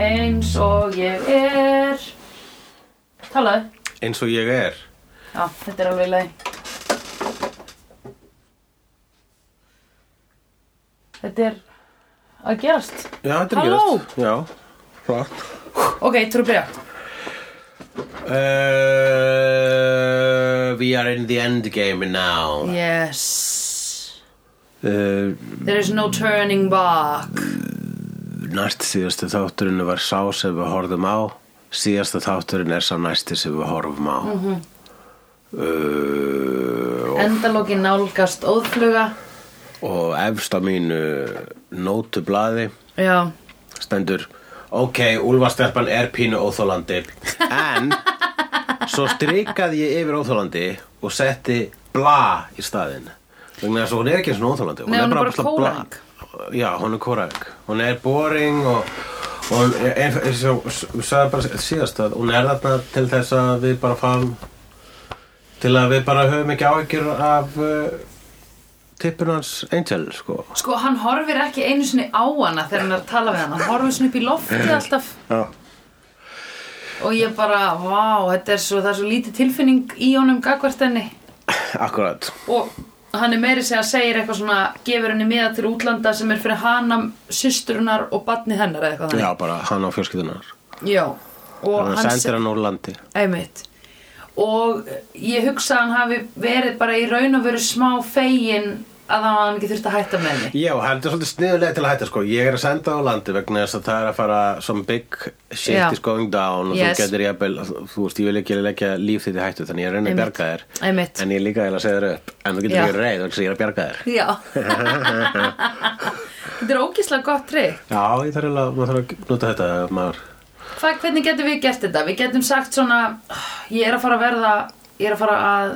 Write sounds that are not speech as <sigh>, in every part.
Eins og ég er Talaðu Eins og ég er. Já, þetta er alveg leið Þetta er að gerast Já, þetta er Halló? gerast. Já, flott. Ok, trú byrja Uh, we are in the end game now. Yes Uh, There is no turning back næst síðastu þátturinn var sá sem við horfðum á. Síðasta þátturinn er sá næsti sem við horfum á. Mm -hmm. uh, og, Endalokin nálgast óðfluga og efst á mínu nótublaði Já stendur ok, úlfastelpan er pínu óþólandi en svo strikaði ég yfir óþólandi og setti bla í staðinn vegna þess að hún er ekki eins og óþólandi Nei, hún er bara ógeðslega kóræk. bla- já, hún er kóræk hún er boring og og hún er- er- er- svo- svo- sagði bara síðast að hún er þarna til þess að við bara fáum til að við bara höfum ekki áhyggjur af uh, tippurans angel sko Sko, hann horfir ekki einu sinni á hana þegar hann er að tala við hana. Hann horfir svona upp í lofti alltaf já og ég bara, vá, þetta er svo, það er svo lítið tilfinning í honum gagvart henni. Akkurat, Og hann er meiri segja að segir eitthvað svona, gefur henni miða til útlanda sem er fyrir hana, systurunar og badni hennar eða eitthvað já bara hann á fjölskyldunar þannig. Já. Og hann hann, sendir hann úr landi Einmitt. Og ég hugsa að hann hafi verið bara í raun og veru smá fegin að hann ekki þurfti að hætta með henni. Já, hann er svolítið sniðulega til að hætta sko. Ég er að senda á landi vegna þess að það er að fara some big shit Já. is going down og Yes. þú getur jafnvel, þú veist, ég vil ekki leggja líf þitt í hættu þannig ég er að reyna að Einmitt. bjarga þér Einmitt. en ég er líka eiginlega að segja þér upp en þú getur Já. ekki reyð vegna þess að ég er að bjarga þér Já. þetta er ógíslega gott trygg. Já, ég þarf eiginlega, maður þarf að nota þetta maður. Hvað, hvernig getum við gert þetta? Við getum sagt svona, ég er að fara að verða, ég er að fara að,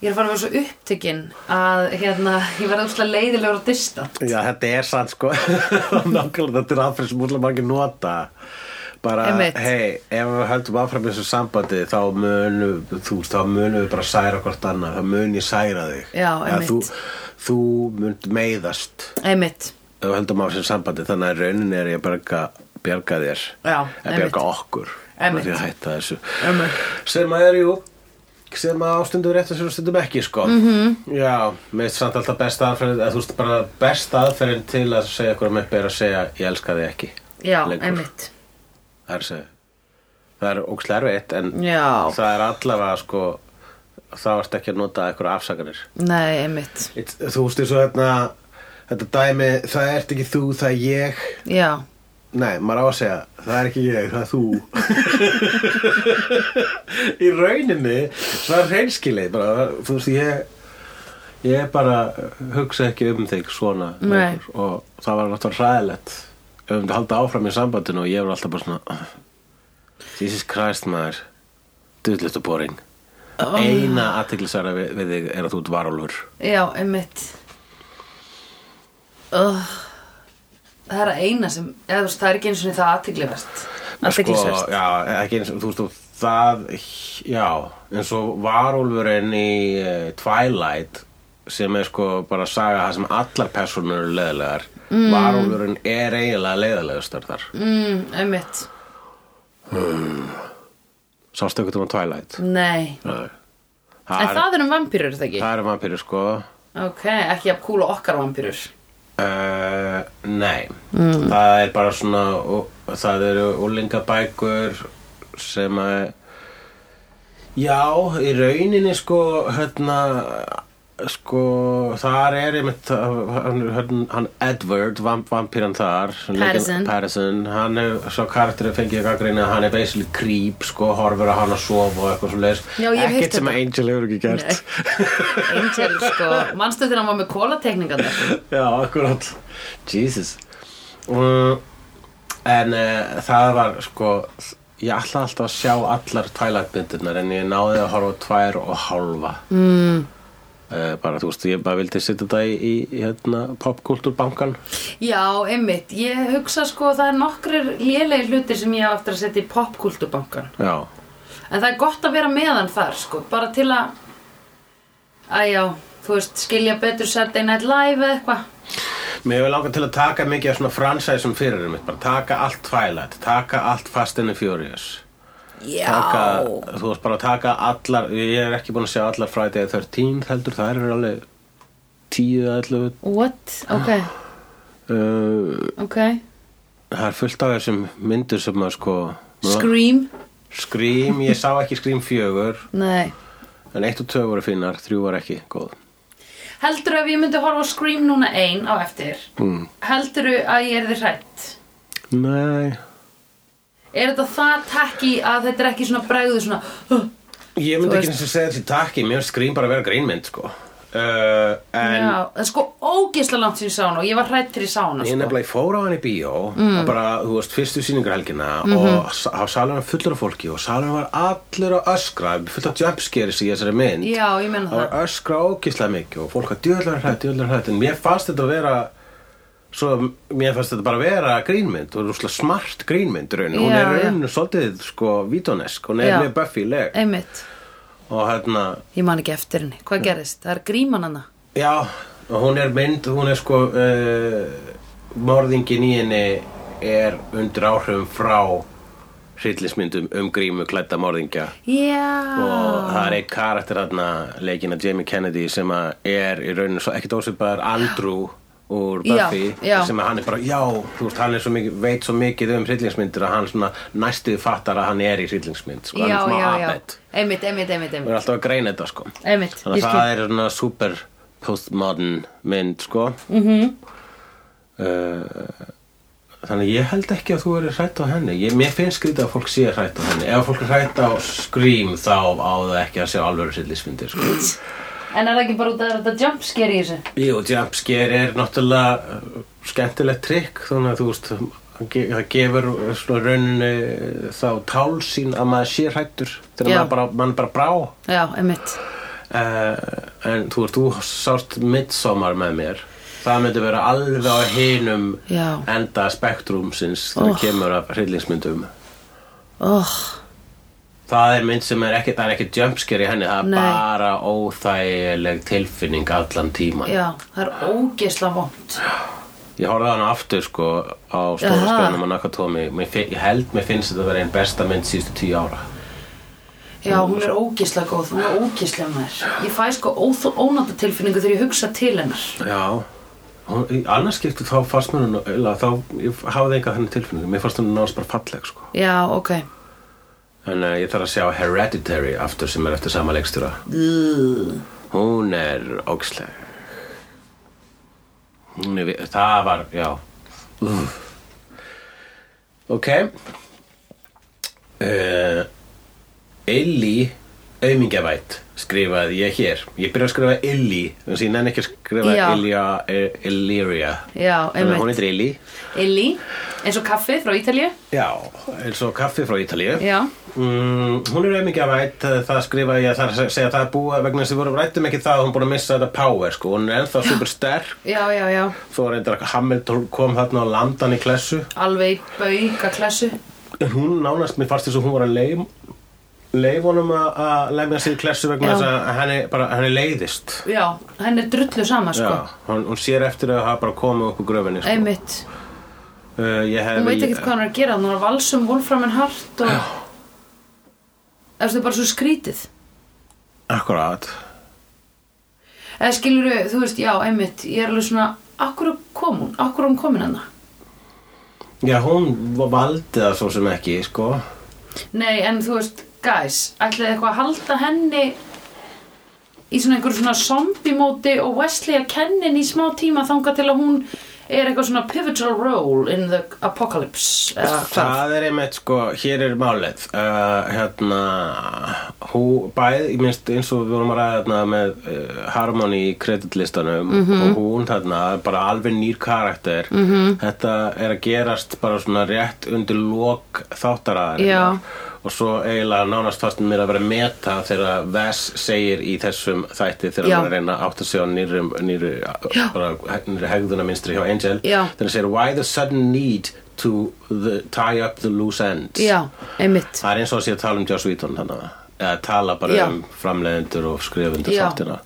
ég er að fara að vera svo upptekinn að hérna, ég verða úrslega leiðilegur á distant. Já, þetta er sann sko <laughs> Nákvæmlega þetta er aðferð sem úrlega margir nota bara, Einmitt. hei, ef við höldum áfram í þessu sambandi þá munum, þú veist, þá munum við bara særa hvort annað, þá mun ég særa þig Já, Eða einmitt. þú, þú munt meiðast Einmitt. ef við höldum á þessu sambandi, þannig að raunin er ég að bjarga, bjarga þér Já, að einmitt. bjarga okkur Einmitt. með því að hætta þessu Einmitt. sem að er, jú sem að ástundum rétt að sér og stundum ekki sko -hmm. Mhm. já, mér finnst samt alltaf besta aðferðin að þú veist bara besta aðferðin til að segja ykkur um upp er að segja ég elska þig ekki Já, Lengur. einmitt. það er, að segja- það er ókslega erfitt en Já. það er allavega sko þá ertu ekki að nota ykkur afsakanir Nei, einmitt. It's, þú veist eins og þarna þetta dæmi, það ert ekki þú, það er ég Já. Nei, maður á að segja, það er ekki ég, það er þú <laughs> Í rauninni, svo er reynskilið bara, þú veist, ég ég bara hugsa ekki um þig svona Nei. lengur. og það var náttúrulega hræðilegt ef við myndum halda áfram í sambandinu og ég var alltaf bara svona Jesus Christ maður dullut og boring eina aðteglisara við, við þig er að þú ert varúlfur Já, einmitt. Uh, það er að eina sem, eða þú veist, það er ekki eins og það aðtiklivert. sko- Aðtiklisvert. já, ekki eins og þú veist og það, já eins og varúlfurinn í eh, Twilight sem er sko bara saga það sem allar personur eru leðilegar mm. varúlfurinn er eiginlega leðilegastar þar mm. Mm, einmitt. sástu ekkert um að Twilight Nei. Nei. En Mm. það, er, það er um vampýrur, það ekki? það er vampíru sko Ok, ekki að kúla okkar vampýrur. Uh, nei, Mm. það er bara svona, ú- það eru úlingabækur sem að, já, í rauninni sko, hérna, sko, þar er einmitt, uh, hann, hann, hann Edward, vamp, vampíran þar, sem leikinn- Patterson. Patterson, hann er, svo karakterið fengið að greina að hann er basically creep, sko, horfur að hann að sofa og eitthvað svo leiðis, Já, ég hef heyrt ekkert sem þetta. að Angel hefur ekki gert. Angel, sko, manstu þegar hann var með kólatekningarnar? Já, akkurát Jesus uh, En uh, það var sko Ég ætla alltaf að sjá allar tvælætmyndirnar En ég náði að horfa á tvær og hálfa mm. Bara, þú veist, ég bara vildi setja þetta í, í, í hérna, popkultúrbankan Já, einmitt. Ég hugsa, sko, það er nokkrir lélegi hlutir sem ég á eftir að setja í popkultubankan. Já, En það er gott að vera meðan þar, sko, bara til að, að já, þú veist, skilja betur Saturday Night Live eða eitthvað. Mér hefur langað til að taka mikið af svona fransæsum fyrir mitt, bara taka allt Twilight, taka allt Fast and the Furious Já. taka, þú veist bara að taka allar ég er ekki búin að sjá allar Friday the 13th heldur, það eru alveg 10 eða 11 What? Ok, uh, ok. það er fullt af þessum myndir sem að sko Scream? Scream, ég sá ekki Scream 4 Nei. en 1 og 2 voru finnar, 3 var ekki góð Heldur ef ég myndi horfa á Scream núna ein á eftir? mm. Heldur að ég er þið hrætt? nei Er þetta það takki að þetta er ekki svona bregðu svona "Huh, ég Þú myndi veist- ekki eins og segja því takki mér finnst Scream bara að vera grínmynd sko uh, en Já, það er sko ógeðslega langt sem ég sá hana og ég var hrætt til ég sá hana Ég sko. Mm. nefnilega ég fór á hann í bíó og bara, þú veist, fyrstu sýningarhelgina Mhm. og sa- á salunum var fullur af fólki og salunum var allur að öskra fullt af jumpscares í þessari mynd Já, ég menna það það. var öskra ógislega mikið og fólk að djöðlar hrætt, djöðlar hrætt en mér fannst þetta að vera svo, mér fannst þetta bara að vera grínmynd og rússlega smart grínmynd raun hún Já, er já. raun svolítið, sko, vítónesk hún er Já. Eh. mjög buffy-leg Einmitt. og hérna, Ég man ekki eftir henni. Mm. Hvað gerðist? Það er gríman hana. Já, og hún er mynd, hún er sko uh, morðingin í henni er undir áhrifum frá hryllismyndum um grímu klædda morðingja Já. og það er einn karakter þarna leikina Jamie Kennedy sem að er í rauninu svo ekkert ósvipaður Andrew úr Já, Buffy já. sem að hann er bara, já, þú veist, hann er svo mikið veit svo mikið um hryllingsmyndir að hann svona næstuð fattar að hann er í hryllingsmynd sko, hann já, er svona já, já. aðbett Einmitt, einmitt, einmitt, og einmitt. er alltaf að greina þetta sko Einmitt, ég Þannig að skil. það er svona super postmodern mynd, sko. Mm Mhm. -hmm. þannig að ég held ekki að þú verið hrætt á henni. Ég, mér finnst skrítið að fólk sé hrætt á henni. Ef fólk er hrætt á Scream þá á það ekki að sjá alvöru sillismyndir, sko. En er það ekki bara út að þetta jumpscare í þessu? Jú, jumpscare er náttúrulega uh, skemmtilegt trikk, þannig að þú veist, það ge- það gefur uh, svona rauninu þá tálsýn að maður sé hrættur þegar Já. maður bara, mann bara brá. Já, einmitt. uh, en þú, þú sást midsommar með mér það myndi vera alveg á hinum Já. enda spektrumsins þegar Oh. kemur af hryllingsmyndum Oh, það er mynd sem er ekki, það er ekki jumpscare í henni það er Nei. bara óþægileg tilfinning allan tíman já, það er ógeðslega vond. ég horfði á hana aftur sko á Jaha. stóra skjönum á Nakatomi Mér fin- ég held mér finnst þetta að vera einn besta mynd síðustu tíu ára Já, hún er ógeðslega góð, hún er ógeðslega maður. Ég fæ sko óþó- ónota tilfinningu þegar ég hugsa til hennar. Já Hún- í annars skiptu þá fannst mér hún eiginlega- þá ég hafði eitthvað þannig tilfinningu mér fannst hún náðast bara falleg sko Já, ok. En uh, ég þarf að sjá Hereditary aftur sem er eftir sama leikstjóra. Hún er ógisleg. Hún er, vi- það var, já. Úff. Ok. Uh, Illy aumingavætt skrifaði ég hér. Ég byrja að skrifa Illy, þannig að ég nenni ekki að skrifa Já. Ilya, eh, Illyria. Já, Þannig að Hún einmitt. heitir Illy. Illy, eins og kaffið frá Ítalíu. Já, eins og kaffi frá Ítalíu. Já, Mm, hún er auðvitað vænt, það skrifa ég þar að segja að það er búið vegna þess að við vorum rættum um ekki það að hún er búin að missa þetta power sko, hún er ennþá super sterk já, já, já. þó reyndar að Hamilton kom þarna og landan í klessu Alveg í bauka klessu. en hún nánast, mér fannst þess að hún var að leim leif honum að- að lemja sig í klessu Já. vegna þess að henni, bara, henni leiðist Já, henn er drullu sama, sko. Já, hún, hún sér eftir að hafa bara komið upp úr gröfinni sko. Einmitt. uh, ég hef Hún veit ekkert hvað hann er að gera, hún er að valsum Wolfram en Hart og... Eftir bara svo skrítið. Akkurat Eða skilur þú veist, já, einmitt, ég er alveg svona, akkur kom hérna? hún, akkur hún komin hann Já, hún valdi það svo sem ekki sko. Nei, en þú veist, guys, ætlaði eitthvað að halda henni í svona einhver svona zombie-móti og Wesley að kennin í smá tíma þanga til að hún er eitthvað svona pivotal role in the apocalypse eða hvað. Það er einmitt sko, hér er málið uh, hérna hú, bæð, ég minnst eins og við vorum að ræða hérna, með uh, Harmony í kreditlistanum Mhm. og hún þarna bara alveg nýr karakter -hmm. þetta er að gerast bara svona rétt undir lok Já. þáttaraðar og svo eiginlega nánast fastin mér að vera meta þegar Vess segir í þessum þætti þegar Já. hann er að reyna að átta sig á nýrum nýri, Já. bara, nýri hegðuna minnstri hjá Angel Já. þegar segir why the sudden need to the, tie up the loose ends Já, einmitt. það er eins og að sé að tala um Joss Whedon þannig að tala bara Já. um framleiðendur og skrifundur Já. þáttina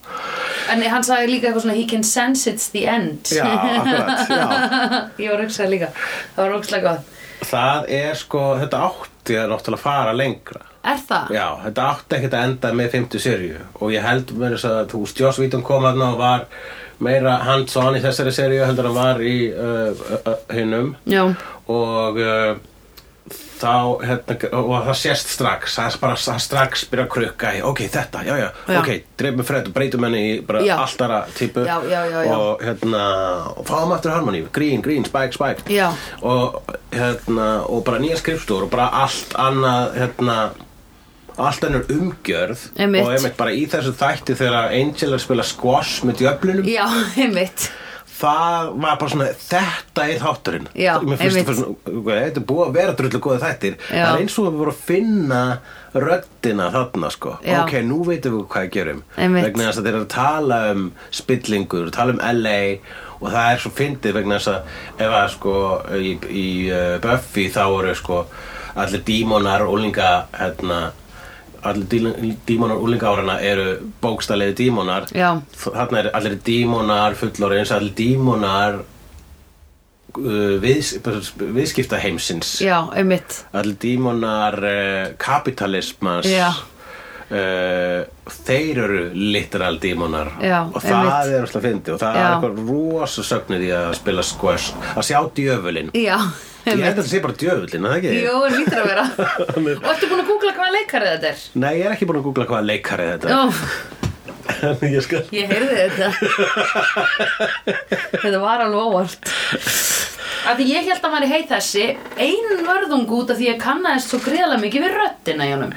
En hann sagði líka eitthvað svona He can sense it's the end Já, akkurat, já. <laughs> Ég var hugsað líka Það var hugsað gott <laughs> Það er sko, þetta átti að náttúrulega fara lengra. Er það? Já, þetta átti ekkert að enda með 50 serju og ég held mér þess að þú veist, Joss Vítun kom hann og var meira hands-on í þessari serju heldur hann var í uh, uh, uh, hinnum Já, og uh, þá hérna, og það sést strax það er bara það strax byrja að krukka í ok, þetta, já, já, Já. ok, dreifum fred og breytum henni í bara Já. allt aðra típu Já, já, já, já. og hérna, og fáum aftur harmoni grín, grín, spæk, spæk Já. og hérna, og bara nýja skrifstúr og bara allt annað hérna, allt annað umgjörð Einmitt. og einmitt bara í þessu þætti þegar Angel er að spila squash með djöflunum já, einmitt það var bara svona þetta er þátturinn Já, Mér einmitt. finnst það bara svona, ok, þetta er búið að vera drullu góða þættir Já. það er eins og við vorum að finna röddina þarna sko Já. ok, nú veitum við hvað við gerum Einmitt. vegna þess að þeir eru að tala um spillingur, tala um LA og það er svo fyndið vegna þess að ef að sko í, í uh, Buffy þá eru sko allir dímonar úlinga hérna allir díl- dímonar úlinga árana eru bókstallegi dímonar Já. þarna er allir dímonar fullorins, allir dímonar uh, viðs, viðskipta heimsins Já, einmitt allir dímonar uh, kapitalismans Já. Uh, þeir eru literal dímonar Já, og það einmitt. er alltaf fyndi og Já. það er eitthvað rosa sögnir í að spila squash að sjá djöfulin Já, ég held að einmitt þetta sé bara djöfulin, er það ekki? Jú, hann lítur <laughs> að vera Og ertu búin að googla hvaða leikari þetta er? Nei, ég er ekki búin að googla hvaða leikari þetta Ó, <laughs> er. ég skal ég heyrði <laughs> þetta Þetta var alveg óvart Af því ég held að hann væri heið þessi Einn vörðung út af því ég kannaðist svo greiðlega mikið við röddina í honum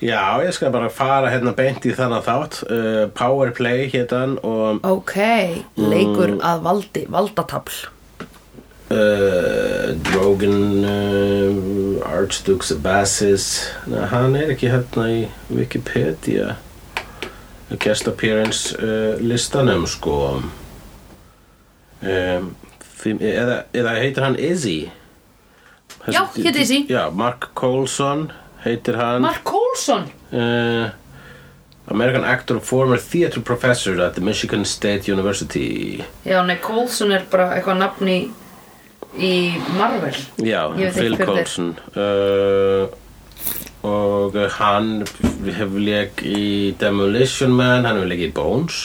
Já, ég skal bara fara hérna beint í þannig þátt uh, Powerplay hétan og Ok, leikur Mm. að valdi, valdatafl uh, Drogan uh, Archdukes of Bassis Nei, hann er ekki hérna í Wikipedia guest appearance uh, listanum sko um, fimm, eða, eða heitir hann Izzy Já, hét Izzy. Já, Mark Colson heitir hann Mark Coulson uh, American actor and former theater professor at the Michigan State University Já, nei, Coulson er bara eitthvað nafn í, í Marvel Já, Ég veit Phil ekki hver þetta er. Coulson uh, og hann hefur leik í Demolition Man, hann hefur leik í Bones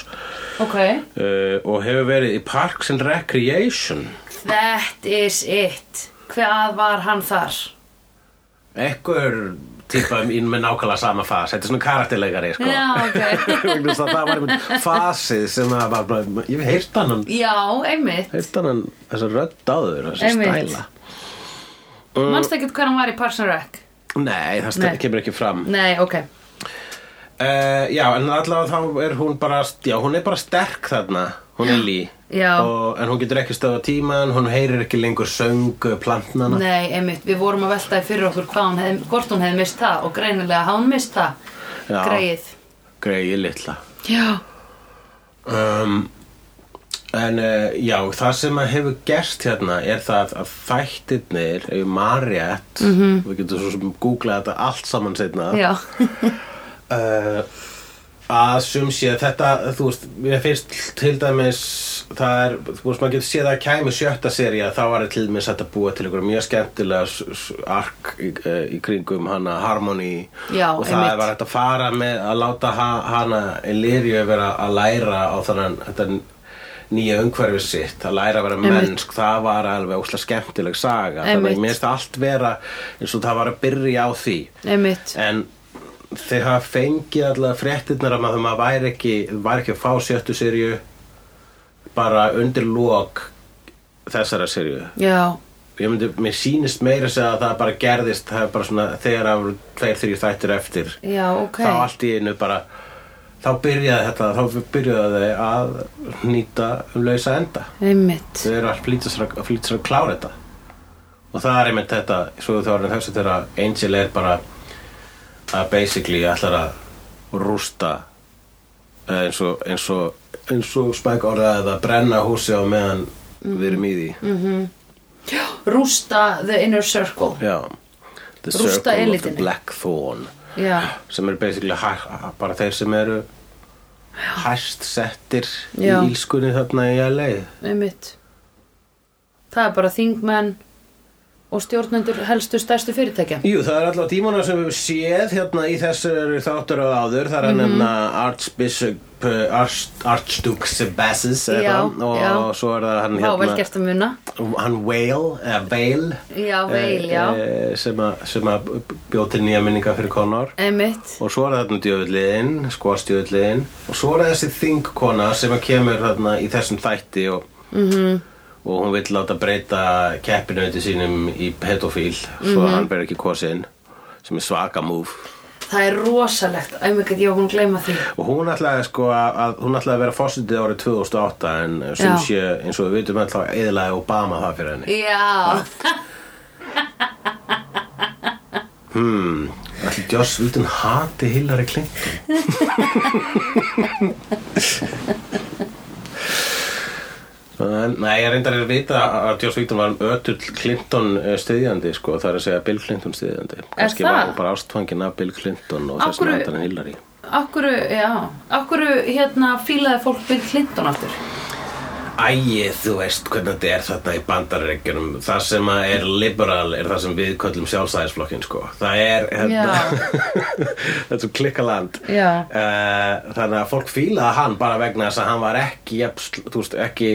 Ok uh, og hefur verið í Parks and Recreation That is it Hvað var hann þar? ekkur típa inn með nákvæmlega sama fas þetta er svona karakterleikari sko Já, <laughs> ok Vegna þess að það var einhvern fasið sem að var bara, ég hef heyrt hann <laughs> Já, einmitt heyrt hann þessa rödd áður, þessa Einmitt. stæla uh, Manstu ekkert hver hann var í Parks and Rec? Nei, það Nei. Nei. kemur ekki fram Nei, ok Uh, já, en allavega þá er hún bara, já, hún er bara sterk þarna, hún er lí. Já. Og, en hún getur ekki stöða tíman, hún heyrir ekki lengur söngu plantnana. Nei, einmitt, við vorum að velta því fyrir okkur hvað hún hefði, hvort hún hefði mist það og greinilega hafði hún mist það Já. Greið Greiði litla. Já Um, en uh, já, það sem að hefur gerst hérna er það að þættirnir, ef Mariett, mm -hmm. við getum svo sem googlað þetta allt saman seinna. Mhm. Já, <laughs> uh, að sum sé þetta, þú veist, mér finnst til dæmis, það er, þú veist, maður getur séð að kæmi sjötta sería þá var það til dæmis hægt að búa til einhverjum mjög skemmtilega s- s- ark í, eh, í kringum hana Harmony Já, og það einmitt. var hægt að fara með að láta ha- hana Illyrio vera að læra á þannan þetta nýja umhverfi sitt að læra að vera mennsk, það var alveg ósla skemmtileg saga, þannig Einmitt. að mér finnst allt vera eins og það var að byrja á því einmitt en þeir hafa fengið alltaf fréttirnar um að maður væri ekki, væri ekki að fá sjöttu sirju bara undir lok þessara sirju Já, ég myndi, mér sýnist meira að segja að það bara gerðist það er bara svona, þegar það voru tveir, þrjú þættir eftir já, ok þá allt í einu bara þá byrjaði þetta, þá byrjaði þau að nýta um lausa enda Einmitt þau eru að flýta sér að, að flýta sér að klára þetta og það er einmitt þetta svo þau eru þessu þegar Angel er bara að basically ætlar að rústa eh, eins og, eins og, eins og spæk orðaði að brenna húsi á meðan Mm. við erum í því Rústa the inner circle já The Rústa Circle of the elitinni. Black Thorn Já, sem eru basically hæ- bara þeir sem eru hæst settir Já. í ílskunni þarna í LA einmitt það er bara þingmenn og stjórnendur helstu stærstu fyrirtækja Jú, það er alltaf tímuna sem við séð hérna í þessari þáttur og áður það Mhm. er að nefna Archbishop eh, Arch- Archduke Sebassus eða Já, eitthvað, og já. svo er það hann hérna, Vá, vel gert að muna hann eh, Whale, eða Vale Já, Whale, já. Eh, sem, a, sem að bjóð til nýja minninga fyrir Conor einmitt og svo er þarna djöfullin, skostjöfullin og svo er það þessi þingkona sem að kemur þarna í þessum þætti og, -hmm. og hún vill láta breyta keppinauti sínum í pedofíl svo að hann ber ekki kosin sem er svaka múf það er rosalegt, einmitt ég var búin að gleyma því og hún ætlaði sko að, að hún ætlaði að vera fórsetið árið 2008 en sem Já. sé, eins og við vitum alltaf eðlaði Obama það fyrir henni já, hmm, ætli Joss Whedon hati Hillary Clinton En, Nei, ég reyndar að vita að Joss Whedon var um ötull Clinton eh, styðjandi, sko, það er að segja Bill Clinton styðjandi. Kannski það? var hún bara ástfangin af Bill Clinton og Af þess að hverju- hann Hillary. okkur já, okkur hérna fílaði fólk Bill Clinton aftur Æi, þú veist hvernig þetta er þarna í bandarækjunum Það sem að er liberal er það sem við köllum sjálfstæðisflokkin sko. Það er þetta, <laughs> þetta er svo klikkaland Já. Eh, Þannig að fólk fílaði hann bara vegna þess að hann var ekki jafn, þú veist, ekki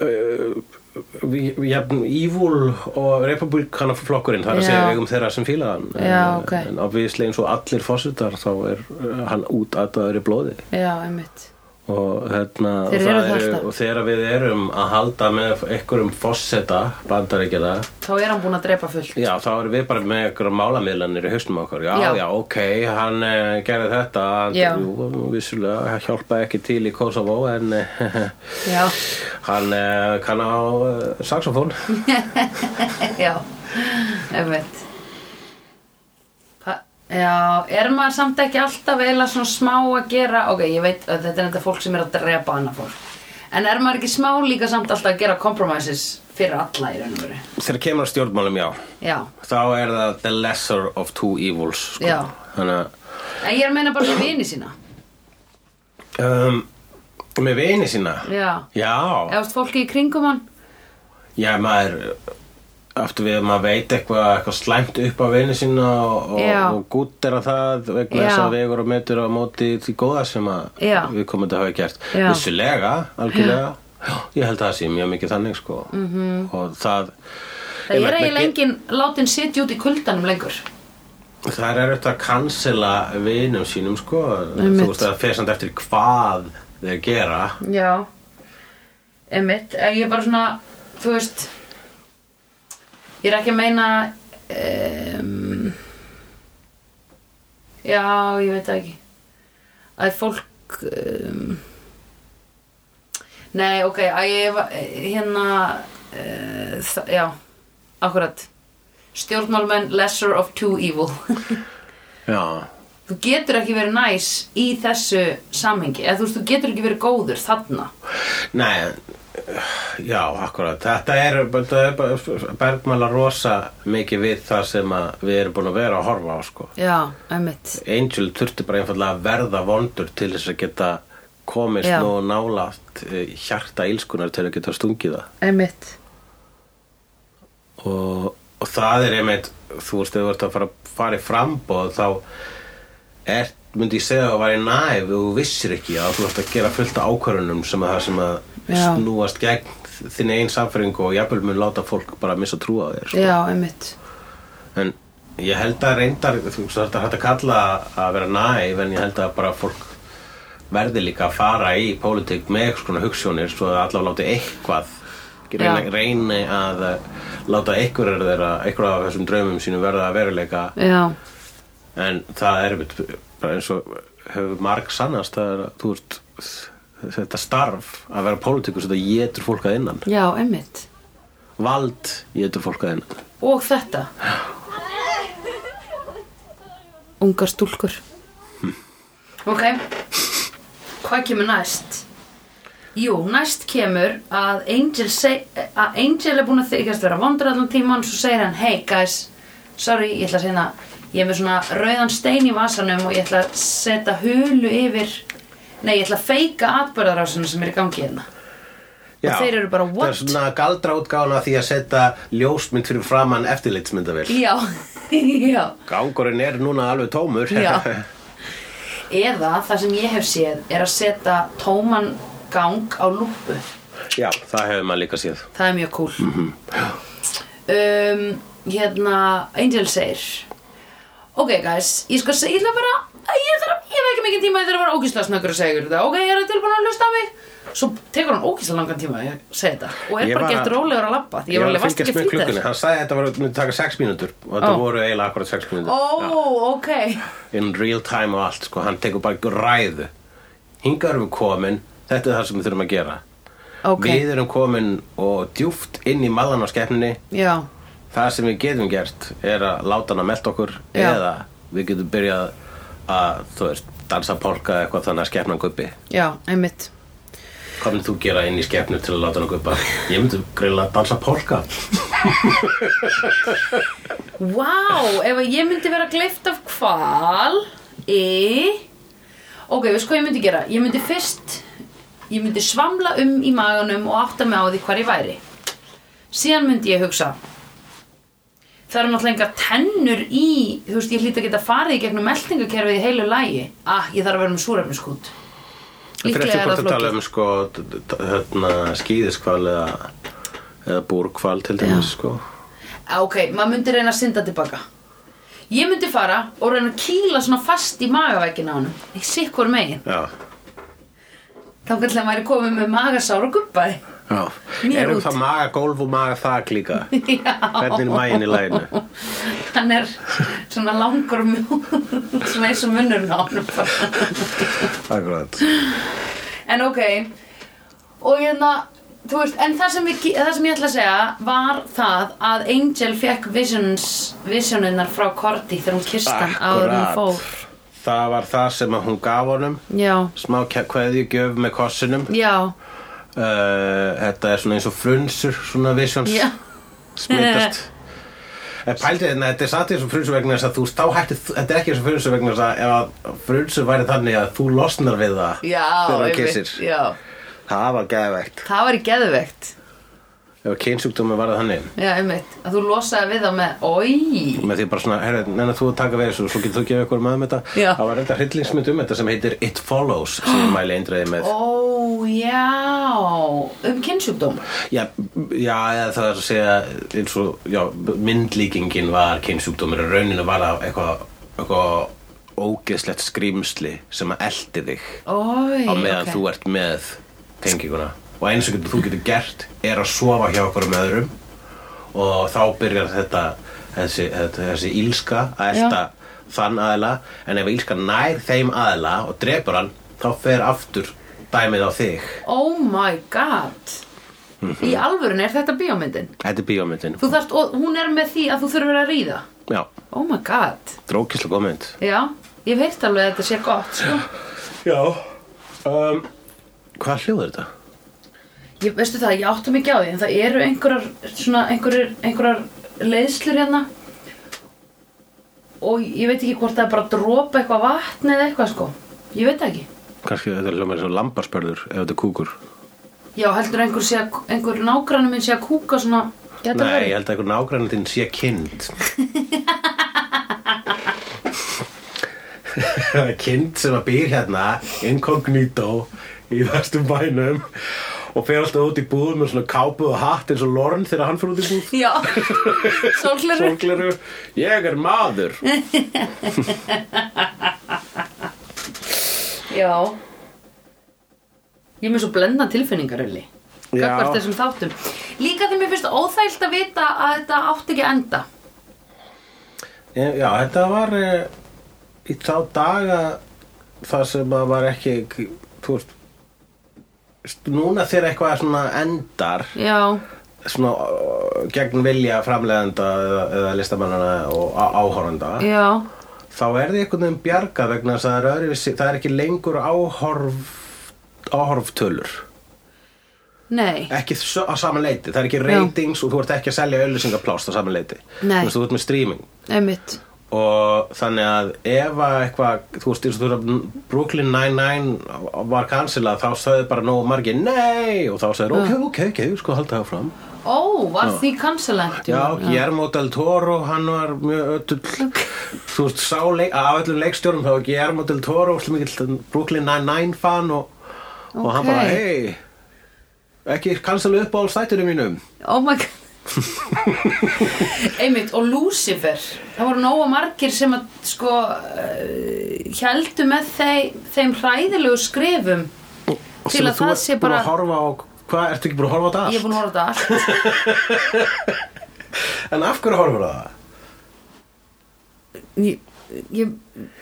uh, jafn evil og republikana flokkurinn það er að Já. segja vegum þeirra sem fílaði hann En- Já, ok. En obviðislega eins og allir fósitar þá er eh, hann út í blóði já, einmitt og hérna Þeir og eru það það alltaf. og þegar við erum að halda með einhverjum fosseta bandaríkjana þá er hann búin að drepa fullt já þá erum við bara með einhverjum málamiðlanir í hausnum á okkur já, já Já. ok, hann uh, gerði þetta hann, Já. jú, vissulega hjálpaði ekki til í Kosovo en uh, já, <laughs> hann uh, kann á uh, saxofón já einmitt Þa- já, er maður samt ekki alltaf eiginlega svona smá að gera ok, ég veit að þetta er þetta fólk sem er að drepa annað fólk en er maður ekki smá líka samt alltaf að gera compromises fyrir alla í raun og veru þegar kemur að stjórnmálum já já, þá er það the lesser of two evils sko. Já. þannig að en ég er að meina bara með vini sína um, með vini sína já, já eða veist fólki í kringum hann Já, maður aftur við að maður veit eitthvað eitthvað slæmt upp á vini sína og, og, Já. og gútt er að það vegna Já. þess að vegur og metur á móti því góða sem að Já. við komum þetta hafa gert Já. vissulega, algjörlega Já. ég held að það sé mjög mikið þannig sko -hmm. og það Mhm. það er Einmitt, eiginlega með- enginn látin sitja út í kuldanum lengur Það er auðvitað að cancela vinum sínum sko Einmitt. þú veist að fesand eftir hvað þeir gera Já Einmitt, en ég er bara svona Þú veist Ég er ekki að meina um, Já, ég veit það ekki Að fólk um, Nei, ok Að ég var hérna uh, það- Já, akkurat Stjórnmálmenn lesser of two evil <laughs> Já, Þú getur ekki verið næs í þessu samhengi, eða þú veist, þú getur ekki verið góður þarna. Nei, já, akkurat. Þetta er, þetta er bergmála rosa mikið við það sem að við erum búin að vera að horfa á, sko. Já, einmitt Angel þurfti bara einfallega að verða vondur til þess að geta komist Já. nú nálaft hjarta ílskunar til að geta stungið það. Einmitt Og, og það er einmitt, þú veist, ef þú ert að fara, fara í frambóð þá er, myndi ég segja að það væri næf og þú vissir ekki að þú ert að gera fullt af ákvörunum sem að það sem að Já. snúast gegn þinn einn samfæringu og jafnvel mun láta fólk bara missa trú á þér sko. Já, einmitt en ég held að reyndar þú veist þetta er hægt að kalla að vera næf en ég held að bara fólk verði líka að fara í pólitík með eitthvað svona hugssjónir svo að allavega láti eitthvað Já. reyni, reyni að eh, láta einhverjar þeirra, einhverjar af þessum draumum sínum verða að veruleika Já, En það er einmitt, bara eins og hefur marg sannast það er að þú ert þetta starf að vera pólitíkus þetta getur fólk að innan já, einmitt vald getur fólk að innan Og þetta Ungar stúlkur Hm. Ok Hvað kemur næst? Jú, næst kemur að Angel, seg, að Angel er búin að þykjast vera vondur allan tíman svo segir hann, hey guys sorry, ég ætla að segna ég er með svona rauðan stein í vasanum og ég ætla að setja hulu yfir nei, ég ætla að feika atbörðarásuna sem er í gangi hérna Já. þeir eru bara, Það what? er svona galdra útgána því að setja ljósmynd fyrir framann eftirlitsmyndavill. já, <laughs> já Gangurinn er núna alveg tómur. Já. eða það sem ég hef séð er að setja tóman gang á lúpu <laughs> Já, það hefur maður líka séð. það er mjög cool um, hérna Angel segir ok guys, ég sko segja, ég ætla bara ég þarf, ég hef ekki mikið tíma, ég þarf að vera ógislega snöggur að segja ykkur þetta, ok, ég er tilbúin að hlusta á mig svo tekur hann ógislega langan tíma að segja þetta og er Ég bara var- gett rólegur að labba því ég var alveg vast ekki með flýta klukkunni. þessu Hann sagði að þetta var myndi taka 6 mínútur og þetta Ó. voru eiginlega akkurat 6 mínútur. ó, ok In real time og allt, sko. Hann tekur bara ræðu. Hingar erum við komin, þetta er það sem við þurfum að gera. ok, Við erum komin og djúft inn í mallan á skeppninni. já, Það sem við getum gert er að láta hann að melta okkur Já. eða við getum byrjað að, þú veist, dansa polka eða eitthvað þannig að skeppnan guppi. já, einmitt Hvað myndir þú gera inn í skeppnu til að láta hann guppa? Ég myndi greinlega að dansa polka. Vá, ef að ég myndi vera gleift af hval Í Ok, veist hvað ég myndi gera? Ég myndi fyrst Ég myndi svamla um í maganum og átta mig á því hvar ég væri Síðan myndi ég hugsa Það eru náttúrulega engar tennur í Þú veist, ég hlýt að geta farið í gegnum meltingakerfið í heilu lægi Ah, ég þarf að vera með súrefniskút Líklega er það Þetta er flókið um sko, t- t- hérna, skýðiskval eða, eða búrkval til dæmis, sko. Ah, Ok, maður myndi reyna að synda tilbaka Ég myndi fara og reyna að kýla svona fast í magavækin á honum Ég sikkur megin Já. Þá kallar maður er komið með magasár og gubbaði Já. Mér Erum út. það maga gólf og maga þak líka? <laughs> Já. Hvernig er maginn í læginu? Hann er svona langur og mjúkur <laughs> Svona eins og munnurinn á hann Akkurat. En ok Og hérna Þú veist, en það sem, við, það sem ég ætla að segja var það að Angel fekk visions, visioninnar frá Korti þegar hún kist hann áður en hún fór. Það var það sem að hún gaf honum. Já, Smá kveðjugjöf með kossinum. já, Uh, þetta er svona eins og frunsur, svona visions. já, smitast En pældi þetta, þetta er satt í þessum frunsu vegna þess að þú þá hætti, þetta er ekki þessum frunsu vegna þess að ef að frunsu væri þannig að þú losnar við það já, þegar þú einmitt, kissir já. Það var geðveikt Það var í geðveikt. Ef kynsjúkdómi var það þannig Já, einmitt. Að þú losaði við það með, oi, með því bara svona, herri, neina þú að taka við þessu svo getur þú gefið ykkur maður með þetta Já. það var reynda hryllingsmynd um þetta sem heitir It Follows sem ég mæli eindræði með Ó, já, um kynnsjúkdóm. já, já, eða það er að segja eins og, já, myndlíkingin var kynsjúkdómur, rauninu var það eitthvað, eitthvað ógeðslegt skrýmsli sem að eldi þig Ói, á meðan þú ert með tenginguna og eins og getur, þú getur gert er að sofa hjá okkur um öðrum og þá byrjar þetta þessi, þetta, þessi ílska að elta þann aðila en ef ílska nær þeim aðila og drepur hann þá fer aftur dæmið á þig Oh my god. Mhm. Í alvörun er þetta bíómyndin. Þetta er bíómyndin Þú þarft, og hún er með því að þú þurfur að ríða. Já, Oh my god. drókislega góð mynd Já, ég veit alveg að þetta sé gott, sko. Já um, Hvað hljóð er þetta? Ég, veistu það, ég átti mikið á því, en það eru einhverjar, svona, einhverjar, einhverjar leiðslur hérna og ég veit ekki hvort það er bara að dropa eitthvað vatn eða eitthvað, sko. Ég veit það ekki. Kannski þetta er hljóð með þessu lambarspörður ef þetta er kúkur Já, heldur einhver, sé að, einhver nágrannu minn sé að kúka svona Gæti Nei, verið. ég held að einhver nágrænandinn sé kind Kind sem að býr hérna incognito í vestum bænum og fer alltaf út í búð með svona kápu og hatt eins og Lorne þegar hann fyrir út í búð Já, sólgleru Sólgleru, ég er maður Já Ég er með svo blenda tilfinningar Ulli Já. Gagvart þessum þáttum Líka því mér finnst óþægilt að vita að þetta átti ekki að enda Ég- Já, þetta var e, í þá daga það sem að var ekki þú veist núna þegar eitthvað svona endar Já, svona uh, gegn vilja framleiðenda eða, eða listamannana og á- áhorfenda já þá er því einhvern veginn bjarga vegna þess að það er, öðruvísi, það er ekki lengur áhorf áhorftölur Nei, ekki s- á sama leiti, það er ekki ratings og þú ert ekki að selja auðlýsingaplás á sama leiti Nei. Þú veist, þú ert með streaming einmitt og þannig að ef að eitthvað, þú veist, eins og þú veist að Brooklyn Nine-Nine var cancelað þá sagði bara nógu margir nei og þá sagði ok, ok, ok, sko halda það fram Ó, var því kansalent Já, Guillermo del Toro, hann var mjög öll Þú veist, sá leik, af öllum leikstjórum þá var Guillermo del Toro, slum mikill Brooklyn Nine-Nine fan og, og Ok. hann bara, hei ekki cancel upp á alls þættunum mínum Oh my god <laughs> Einmitt, og Lucifer Það voru nóga margir sem að sko uh, heldu með þeim, þeim hræðilegu skrifum Og Til sem að það ert sé búin bara- að horfa á, Hvað, ertu ekki búin að horfa á þetta Ég er allt? búin að horfa á þetta allt En af hverju horfur það? ég, ég,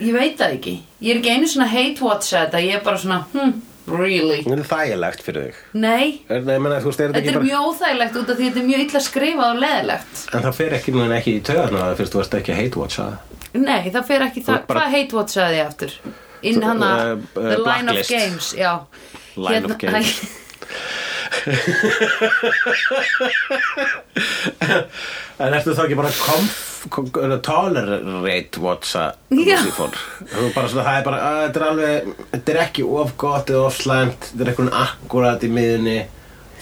ég veit það ekki Ég er ekki einu svona hate watch að þetta Ég er bara svona, hm, really Það er þægilegt fyrir þig Nei, er, nei, menna, veist, er þetta þetta ekki er bara, mjög óþægilegt út af því þetta er mjög illa skrifað og leðilegt En það fer ekki, mun, ekki í töðan að fyrst þú ert ekki að hate-watcha það Nei, það fer ekki Þú það ert bara- Hvað hate watch að því aftur? Inn hana, Uh, uh, the line blacklist. of games Já, Hérna, Line of games. En ertu þá ekki bara komf, kom, tolerate watcha Já. Lucifer? Þú bara svona, það er bara, að, þetta er alveg, þetta er ekki of gott eða of slæmt, þetta er einhvern akkurat í miðunni,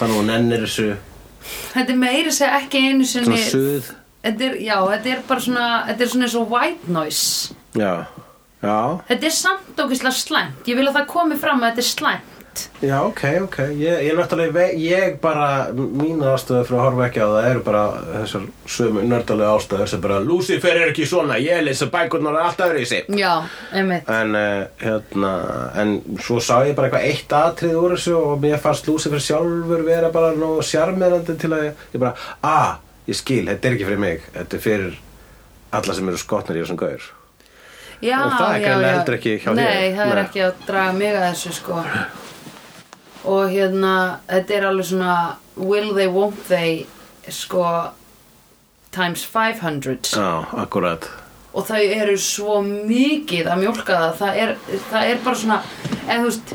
þannig að hún ennir þessu, <laughs> Þetta er meira segja ekki einu svona sinni suð. þetta er, Já, þetta er bara svona Þetta er svona eins og white noise Já, já, Þetta er samt ókvæslega slæmt Ég vil að það komi fram að þetta er slæmt já, ok, ok, ég, ég náttúrulega, ve- ég bara, mín ástöðu fyrir að horfa ekki á það eru bara þessar sömu nördalegu ástöður sem bara, Lucifer er ekki svona, ég lesa bækurnar alltaf öðru í sig. Já, einmitt en, uh, hérna, en svo sá ég bara eitthvað eitt atrið úr þessu og mér fannst Lucifer sjálfur vera bara nógu sjarmerandi til að ég bara, ah, ég skil, þetta er ekki fyrir mig þetta er fyrir alla sem eru skotnir í þessum gaur Já, Og það er já, greinilega já. heldur ekki hjá þér. Nei, það er Nei. ekki að draga mig að þessu sko Og hérna, þetta er alveg svona Will they, won't they sko times 500 já, akkurat og þau eru svo mikið að mjólka það það er, það er bara svona eða þú veist,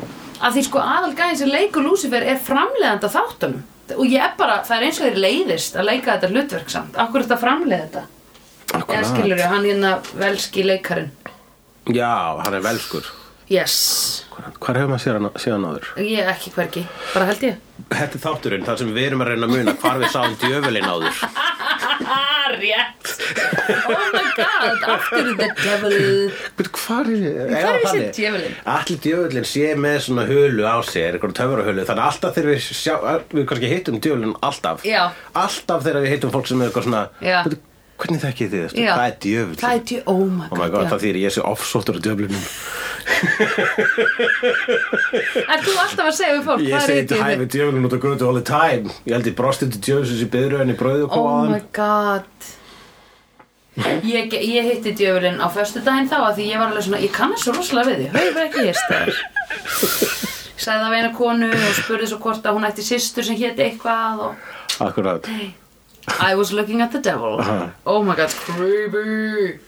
að því sko aðalgæðin sem leikur Lucifer er framleiðanda þáttunum og ég er bara, það er eins og þeir leiðist að leika þetta hlutverk samt, akkur er þetta framleiða þetta eða skilur ég, hann hérna velski leikarinn já, hann er velskur yes, hvað hefur maður séð hann- séð hann áður? ég ekki hvergi bara held ég Þetta er þátturinn, þar sem við erum að reyna að muna hvar við sáum djöfulinn áður ah, rétt oh my god, after the devil But hvar er ég? Hvar er þessi djöfullinn? Allir djöfullin sé með svona hulu á sér, eitthvað töfrahulu Þannig að alltaf þegar við sjá, við kannski hittum djöfullin alltaf Já. Alltaf þegar við hittum fólk sem er eitthvað svona Já. "Bíddu, Hvernig þekkið þið þetta? Já. Hvað er djöfullin? það er djö, oh my Oh my god, god, já. það þýðir ég sé offsóttur á djöfulinum er þú alltaf að segja við fólk Ég hvað er segi í þetta djöfullinn? hæfi djöfulin út á grötu all the time Ég held ég brosti til djöfulsins í byðröðinni bröðu og Oh my kóðan god Ég, ég hitti djöfulinn á föstudaginn þá að því ég var alveg svona, ég kannast svo rosalega við því, hefur ekki hérst þar Sæði það við eina konu og spurði svo hvort að hún ætti systur sem héti eitthvað og Akkurat I was looking at the devil Oh my god, creepy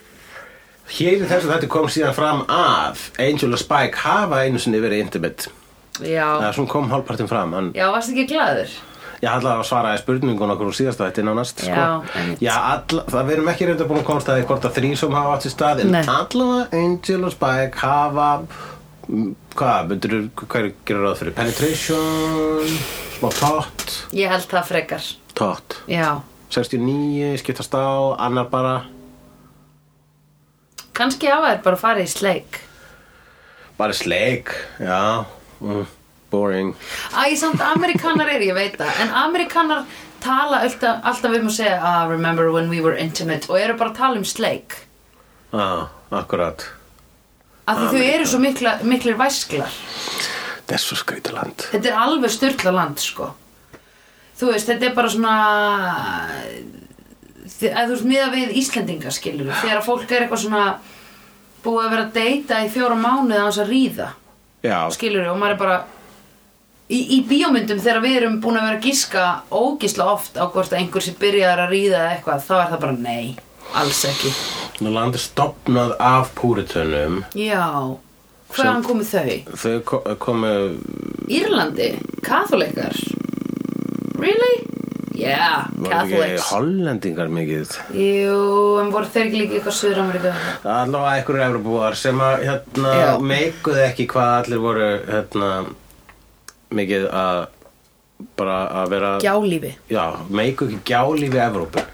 Hér í þessu þetta kom síðan fram að Angel og Spike hafa einu sinni verið intimate Það Já, er svona kom hálfpartin fram hann já, varst ekki glaður? Ég ætlaði að svara í spurningun okkur úr síðasta þetta nánast sko. Já, einmitt. Já all, það verðum ekki reynda búin að komast að því hvort að þrísum hafa átt í stað en Nei. allavega Angel og Spike hafa mm, hvað, myndirðu, hvað er gerir ráð fyrir penetration, smá tótt Ég held það frekar tótt, Já, 69, skiptast á annar bara, kannski hafa þér bara farið í sleik bara sleik já, mm, boring Æ, samt amerikanar er, ég veit það En amerikanar tala alltaf, alltaf um að segja ah, Remember when we were intimate Og eru bara að tala um sleik ah, akkurat Af því þau eru svo mikla, miklir væsklar þetta er svo skrítiland Þetta er alveg styrla land, sko Þú veist, þetta er bara svona þi- að þú veist, miða við Íslendinga skilur Þegar fólk er eitthvað svona Búið að vera að deyta í fjóra mánuði Að hans að ríða já, skilur og maður er bara í, í bíómyndum þegar við erum búin að vera að gíska ógísla oft á hvort að einhver sem byrjar að ríða eða eitthvað þá er það bara nei, alls ekki nú landi stopnað af púritunum já, hvaðan komu þau? þau ko- komu Írlandi, katholikar really? Yeah, Voru ekki Catholics hollendingar mikið Jú, en voru þeir ekki líka eitthvað Suður-Ameríku? Allavega einhverjur Evropúar sem að hérna, Já. meikuðu ekki hvað allir voru hérna, mikið að bara að vera gjálífi Já, meiku ekki gjáli við Evrópu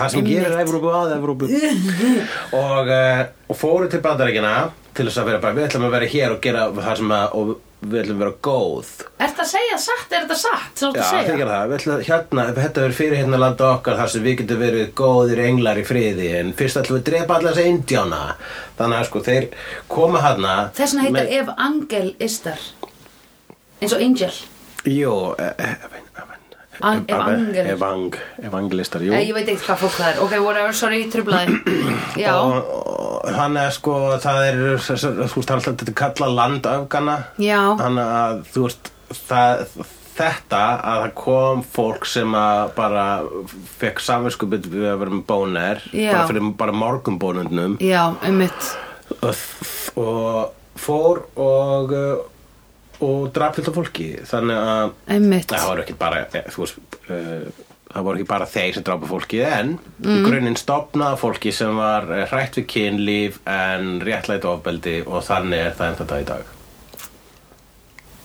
Það sem gerir Evrópu að <laughs> Evrópu og, uh, og fóru til bandarækina til þess að vera bara, við ætlum að vera hér og gera það sem að, og við ætlum að vera góð Er þetta að segja satt? Er þetta satt? Svo Já, þetta að þeir segja? gera það, við ætlum að hérna þetta verið fyrir hérna landa okkar þar sem við getum verið góðir englar í friði en fyrst ætlum við að drepa allas indjána þannig að sko, þeir koma hérna hana Þess vegna heitar ef angel istar eins og angel Jú, e- evang An- evangel- e- Evang, evangelistar, jú Eh, Ég, ég veit ekkert hvað fólk það er Ok, whatever, sorry, <clears throat> trublaði Já, og, og hann er sko það er, þessar- þú veist, hann alltaf þetta kalla landöfgana Já. hann að, þú veist, það þetta að það kom fólk sem að bara fekk samvinskupið við að vera með bóner Já. bara fyrir bara morgunbónundnum já, einmitt og, og fór og uh, og draf fyllt á fólki þannig að einmitt það voru ekki bara eh, þú veist uh, það voru ekki bara þeir sem drápa fólki en Mhm. í grunninn stopnaða fólki sem var eh, hrætt við kynlíf en réttlætt ofbeldi og þannig er það enda dag í dag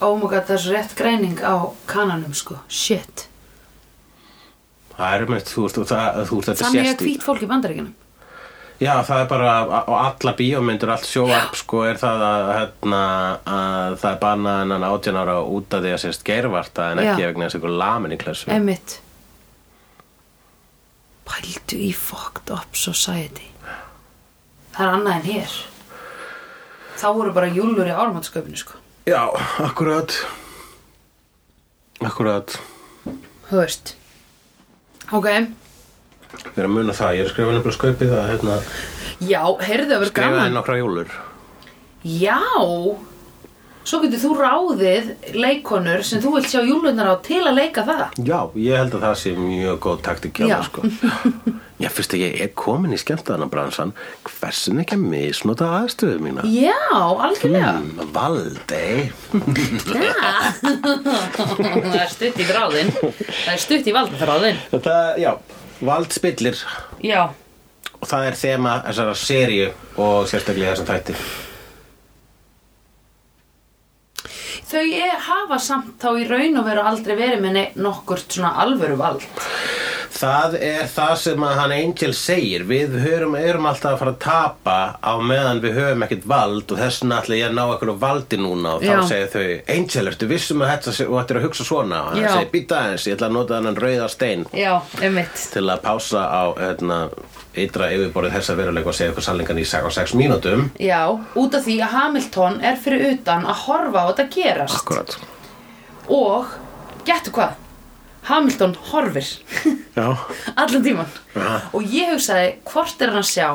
oh my god, það er svo rétt greining á kananum sko shit það er um eitt, þú veist, og það, þú veist þetta Þannig sést er í- hvít fólk í bandaríkjunum Já, það er bara á alla bíómyndur, allt sjóvarp sko er það að, hérna, að það er bannað hennan 18 ára út af því að sést geirvarta en ekki Já. vegna þess einhver lamin í klassu einmitt pældu í fucked up society Það er annað en hér Þá voru bara júlur í ármáttsköpinu sko Já, akkurat Akkurat þú veist ok, Ég er að muna það, ég er að skrifa nefnilega skaupið það hérna, Já, heyrðu það verið skrifaði gaman nokkra jólur Já Svo getur þú ráðið leikonur sem þú vilt sjá júlunar á til að leika það Já, ég held að það sé mjög góð taktik hjá Já. mér sko <laughs> Já, fyrst að ég er komin í skemmtana bransan hversin ekki að misnota aðstöðu mína Já, algjörlega Mm, Valdi Það er stutt í gráðin Það er stutt í valdgráðin Þetta, já, vald spillir Já og það er þema þessara seríu og sérstaklega þessum þætti Þau er, hafa samt þá í raun og veru aldrei verið með neitt nokkurt svona alvöru vald Það er það sem að hann Angel segir Við hörum, erum alltaf að fara að tapa á meðan við höfum ekkert vald og þess vegna ætla ég að ná einhverju valdi núna og þá Já. segja þau Angel, ertu vissum að þetta sé- og þetta er að hugsa svona og hann Já. segir, býta aðeins, ég ætla að nota þennan rauða stein já, einmitt til að pása á hérna, ytra yfirborðið þessa veruleika og segja eitthvað sannleikan í 6 mínútum Já Út af því að Hamilton er fyrir utan að horfa á þetta gerast Akkurat Og, gettu hvað? Hamilton horfir Já, Allan tíman Aha. Og ég hugsaði, hvort er hann að sjá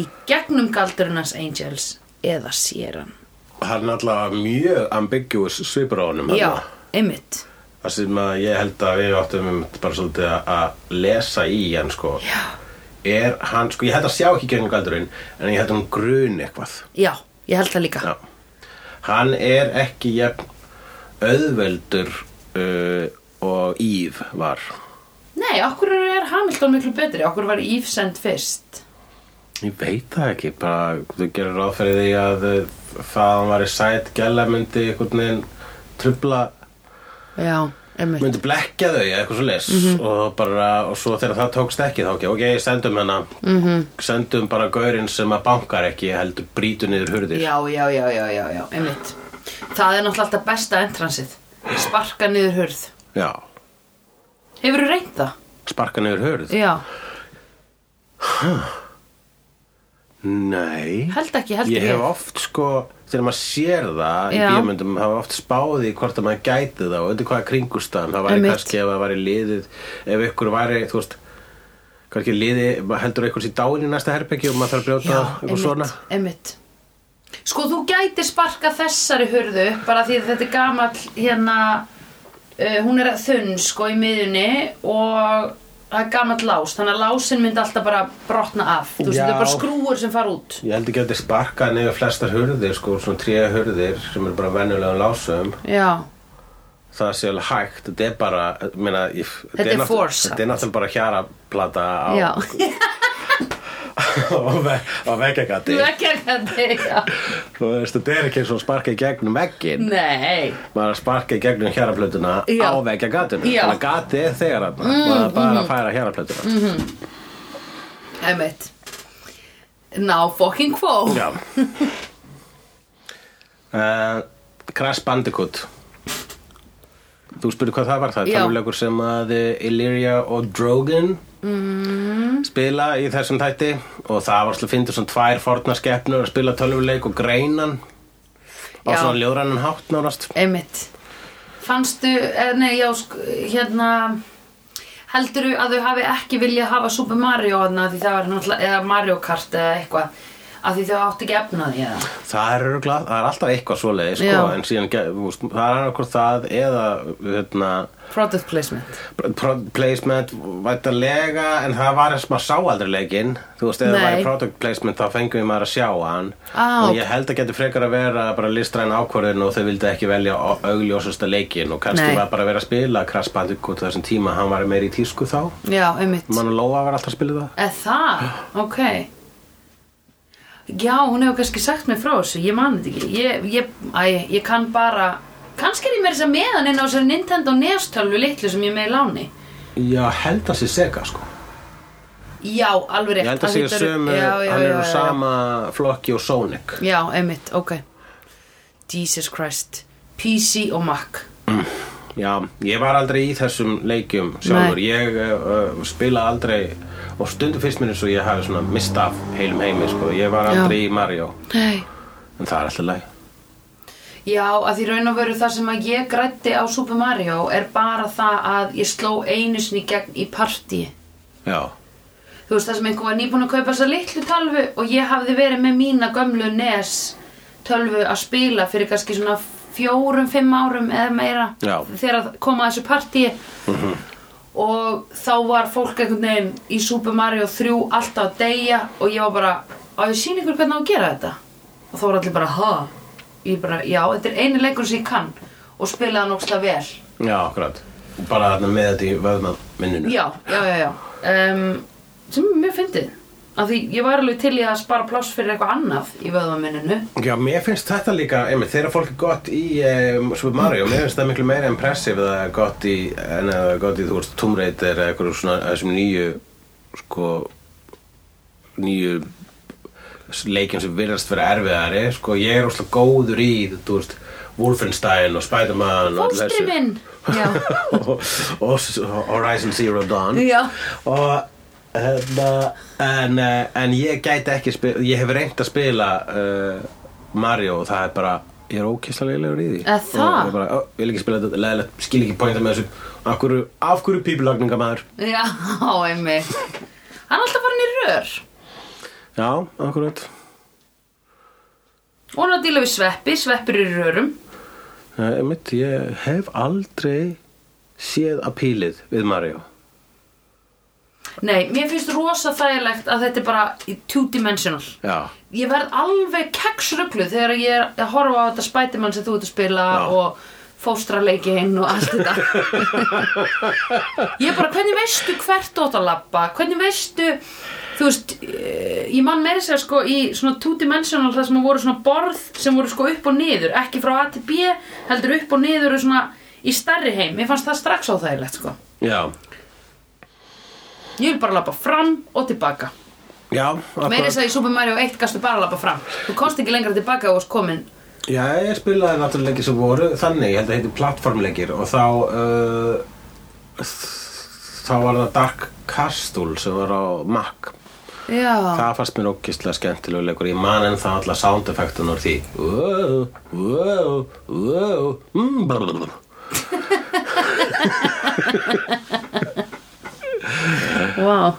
í gegnum galdurinn hans Angels eða sér hann hann er alltaf mjög ambiguous svipur á honum Já, þarna. einmitt Það sem að ég held að við áttum einmitt bara svolítið að- að lesa í hann sko Já. Er hann, sko, ég held að sjá ekki gegnum galdurinn En ég held að hann grun eitthvað Já, ég held það líka Já Hann er ekki jafn auðveldur uh, og Ív var Nei, okkur er Hamilton miklu betri, okkur var Eve send fyrst. Ég veit það ekki, bara þú gerir ráð fyrir því að uh, það að hann var í sæt gæla myndi einhvern veginn trubla já, einmitt myndi blekja þau eða eitthvað svo les Mhm. og, bara, og svo þegar það tókst ekki þá ekki ok, sendum hennar Mhm. -hmm. sendum bara gaurinn sem að bankar ekki heldur brýtu niður hurðir Já, já, já, já, já, já, einmitt. Það er náttúrulega alltaf besta entransið. Sparka niður hurð. Já, Hefurðu reynt það? sparka niður hurð Já. nei, Held ekki, held ég ekki. hef oft sko þegar maður sér það í Já. bíómyndum hafa oft spáði hvort að maður gæti það og undir hvaða kringustan það væri Einmitt. kannski ef það væri liðið ef ykkur væri, þú veist kannski liðið, heldur ykkur sér dáin í næsta herpeki og maður þarf að brjóta eitthvað svona einmitt, einmitt. Sko, þú gæti sparka þessari hurðu upp bara því að þetta er gamall hérna, uh, hún er þunn sko í miðunni og það er gamall lás, þannig að lásin myndi alltaf bara brotna af. Þú veist, Já. þetta er bara skrúur sem fara út. Ég held ekki að þetta sparkað niður flestar hurðir, sko, svona tréa hurðir sem eru bara venjulega lásum já, það sé alveg hægt þetta er bara, ég meina, ég, Þetta er náttú- force, þetta er náttúrulega bara hjara plata á, <laughs> Já, og, ve og veggagati þú ekki að þetta, já. þú veist, þetta er ekki eins og sparka í gegnum veggin Nei, maður er að sparka í gegnum hjara plötuna Mm. Já. á veggagatunum Já. Mm, þannig að gati er þegar þarna maður er bara að færa hjara plötuna einmitt. Ná, fucking quo. <laughs> Já uh, Crash Bandicoot Þú spyrir hvað það var það Já. Tölvulegur sem að eh, Illyria og Drogan Mm-hmm. mm. spila í þessum þætti og það var slið fyndur svona tvær forna skepnur að spila tölvuleik og greinan á Já. svona ljóðrannan hátt nárast Einmitt. Fannstu, eh, nei, já, sk- hérna, heldurðu að þau hafi ekki viljað hafa Super Mario hana því það var náttúrulega, eða Mario Kart eða eitthvað, að því þau átti ekki efna því eða? Það er, örugglega- það er alltaf eitthvað svoleið sko, Já. en síðan ge- þú veist, það er okkur það eða hérna, Product placement. product placement vætalega en það var eins og maður sá aldrei leikinn þú veist, ef það Nei. Ah, væri product placement þá fengum við maður að sjá hann Á, og ég held að getur frekar að vera bara listræn ákvörðin og þau vildi ekki velja au- augljósasta leikinn og kannski Nei. var bara að vera að spila Crash Bandicoot þessum tíma, hann var meir í tísku þá Já, einmitt. mann og Lóa var alltaf að spila það Eða það? Ok. Já, hún hefur kannski sagt mér frá þessu, ég man þetta ekki. Ég, ég, æ, ég kann bara, kannski er ég meira þess að meðan inn á þessari Nintendo NES-tölvu litlu sem ég er með í láni. Já, held að sé Sega sko Já, alveg rétt. Ég held að sé því þetta eru- sömu, já, já, hann já, er já, úr já. sama flokki og Sonic Já, einmitt, ok. Jesus Christ. PC og Mac. Já, ég var aldrei í þessum leikjum sjálfur, Nei. ég uh, spila aldrei og stundum fyrst minn eins og ég hafi svona mista af heilum heimi sko. ég var Já. aldrei í Mario Nei. en það er alltaf læg Já, að því raun og veru það sem að ég grætti á Super Mario er bara það að ég sló einu sinni í gegn í partíi. Já, þú veist það sem einhver var nýbúin að kaupa þessa litlu tölvu og ég hafði verið með mína gömlu NES tölvu að spila fyrir kannski svona fjórum, fimm árum eða meira Já. þegar að koma að þessu partíi og þá var fólk einhvern veginn í Super Mario 3 alltaf að deyja og ég var bara að ég sín ykkur hvernig á að gera þetta og þá var allir bara ha ég bara já, þetta er eini leikur sem ég kann og spilaði hann ógstlega vel já, akkurat bara þarna með þetta í vöðmaminninu Já, já, já, já um, sem er mjög fyndið af því ég var alveg til í að spara pláss fyrir eitthvað annað í vöðvaminninu Já, mér finnst þetta líka, einmitt, þegar fólk er gott í um, Super Mario, mér finnst það miklu meira impressive að það er gott í, en að það er gott í, þú veist, Tomb Raider eða eitthvað svona, þessum nýju, sko, nýju leikjum sem virðast vera erfiðari, sko, ég er óslega góður í, þú veist, Wolfenstein og Spider-Man og öllu Fóstri minn Já, <laughs> og, og s- Horizon Zero Dawn Já. og hérna en, eh, en ég gæti ekki spila ég hef reynt að spila uh, Mario og það er bara ég er ókesslega leilegur í því Eða það? Og ég bara, "Ó, vil ekki spila þetta, leiðilegt, skil ekki pointa með þessu af hverju, af hverju pípulagninga maður já, einmitt Hann er alltaf farin í rör já, akkurat og hann er að díla við sveppi, sveppir eru í rörum uh, mitt, ég hef aldrei séð að pílið við Mario Nei, mér finnst rosa þægilegt að þetta er bara í two-dimensional já, Ég verð alveg keksruglu þegar ég er að horfa á þetta Spiderman sem þú ert að spila Já. og fóstraleikinn og allt þetta. ég er bara, hvernig veistu hvert þú átt að labba? Hvernig veistu, þú veist, eh, ég man meiri segja sko í svona two-dimensional það sem voru svona borð sem voru sko upp og niður, ekki frá A til B, heldur upp og niður og svona í starri heim. Mér fannst það strax óþægilegt sko. já Ég vil bara labba fram og tilbaka. já, akkurat Meiri segja í Super Mario 1 gastu bara að labba fram. Þú komst ekki lengra tilbaka og varst komin Já, ég spilaði náttúrulega leikir sem voru þannig, ég held að heiti plattformleikir og þá uh, þá var það Dark Castle sem var á Mac Já, það fannst mér ókistlega skemmtilega leikur ég man en það alltaf sound effektun úr því wow, wow, wow mm, blablabla. vá wow.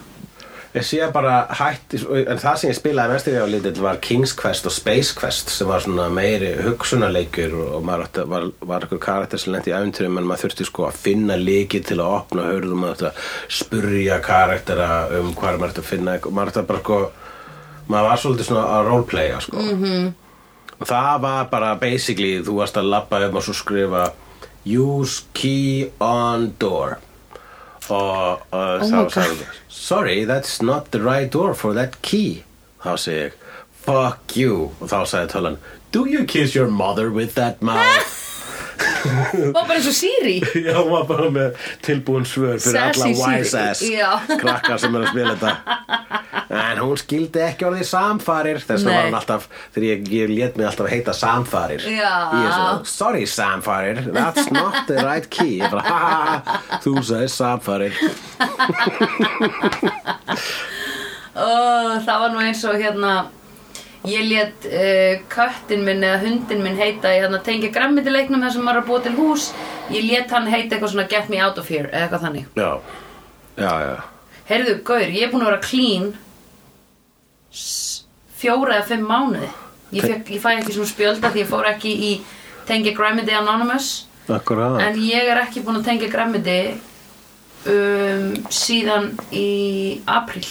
ég sé bara hætt en það sem ég spilaði mest þegar ég var lítill var King's Quest og Space Quest sem var svona meiri hugsunarleikur og maður átti, var, var eitthvað karakter sem lendi í æfnturum en maður þurfti sko að finna leiki til að opna hörðum maður átti að spurja karaktera um hvað maður átti að finna eitthvað. maður átti að bara sko maður var svolítið svona að roleplaya Mhm. sko. mm -hmm. það var bara basically þú varst að labba um og svo skrifa Use key on door og uh, Oh my þá God. sagði ég Sorry, that's not the right door for that key þá segi ég Fuck you og þá sagði talan Do you kiss your mother with that <laughs> mouth? Var bara eins og Siri <laughs> Já, hún var bara með tilbúin svör fyrir alla Sassy Siri. wise ass Já. <laughs> krakkar sem er að spila þetta En hún skildi ekki orðið samfarir þess að Nei. var hún alltaf þegar ég, ég lét mig alltaf heita samfarir Já. Ég er svo, Sorry samfarir, that's not the right key Ég bara, ha, ha, ha, Þú sagði samfarir Ó, Það var nú eins og hérna Ég lét uh, köttin minn eða hundin minn heita Ég hérna tengja græmmitileiknum þar sem maður er að búa til hús Ég lét hann heita eitthvað svona Get me out of here eða eitthvað þannig Já, já, já Heyrðu, Gaur, ég er búin að vera clean s- fjóra eða fimm mánuði Ég, fekk, ég fæ ekki svona spjölda því ég fór ekki í tengja græmmiti anonymous Akkurat En ég er ekki búin að tengja græmiti um, síðan í apríl.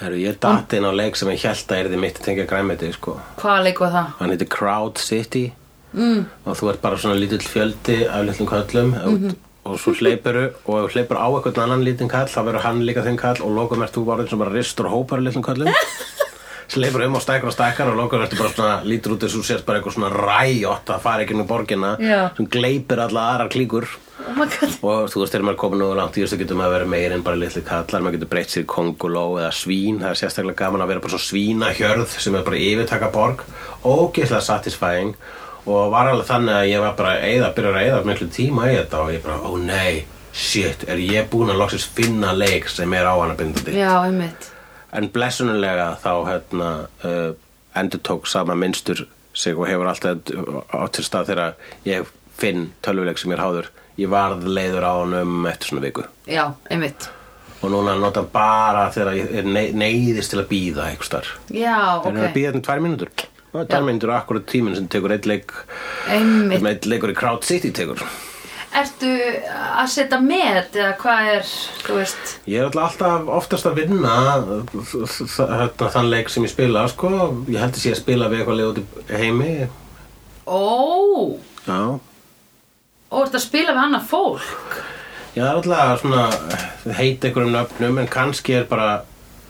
Herru, ég datt inn á leik sem ég held að er þið mitt að tengja græmiti, sko Hvaða leik var það? Hann heitir Crowd City mm. og þú ert bara svona lítill fjöldi af litlum köllum mm og svo hleypiru og ef þú hleypur á eitthvað annan lítinn kall þá verður hann líka þinn kall og lokum ert þú bara eins og bara ristur og hópar af litlum köllum svo hleypur um og stækkar og stækkar og lokum ertu bara svona lítur út eins og þú sért bara eitthvað svona ræjott að fara ekki nú borgina Já. sem gleipir alla aðrar klíkur Oh my god. og þú veist þegar maður er komin og langt í þessu getur maður að vera meir en bara litli kallar maður getur breytt sér í konguló eða svín það er sérstaklega gaman að vera bara svo svínahjörð sem er bara yfirtaka borg ógeðslega satisfying og var alveg þannig að ég var bara að eyða, byrja að eyða miklu tíma í þetta og ég bara, ó nei shit, er ég búin að loksins finna leik sem er á hana bindandi Já, einmitt. en blessunulega þá hérna, uh, endur tók sama minnstur sig og hefur alltaf átt til stað þegar ég finn tölvuleik sem ég er háður ég varð leiður á hann um eftir svona viku Já, einmitt. og núna nota hann bara þegar ég er ney- neyðist til að býða einhvers þar Já, en okay. að ok. býða þetta tvær mínútur og tvær Já. mínútur er akkurat tíminn sem tekur eitt leik Einmitt. sem eitt leikur í Crowd City tekur Ertu að setja met eða hvað er, þú veist, Ég er alltaf alltaf oftast að vinna þ- þ- þ- þann leik sem ég spila sko. ég held að sé að spila við eitthvað leið út í heimi ó, Já, ó, ertu að spila við annað fólk? Já, það er alltaf svona eh, heit einhverjum nöfnum en kannski er bara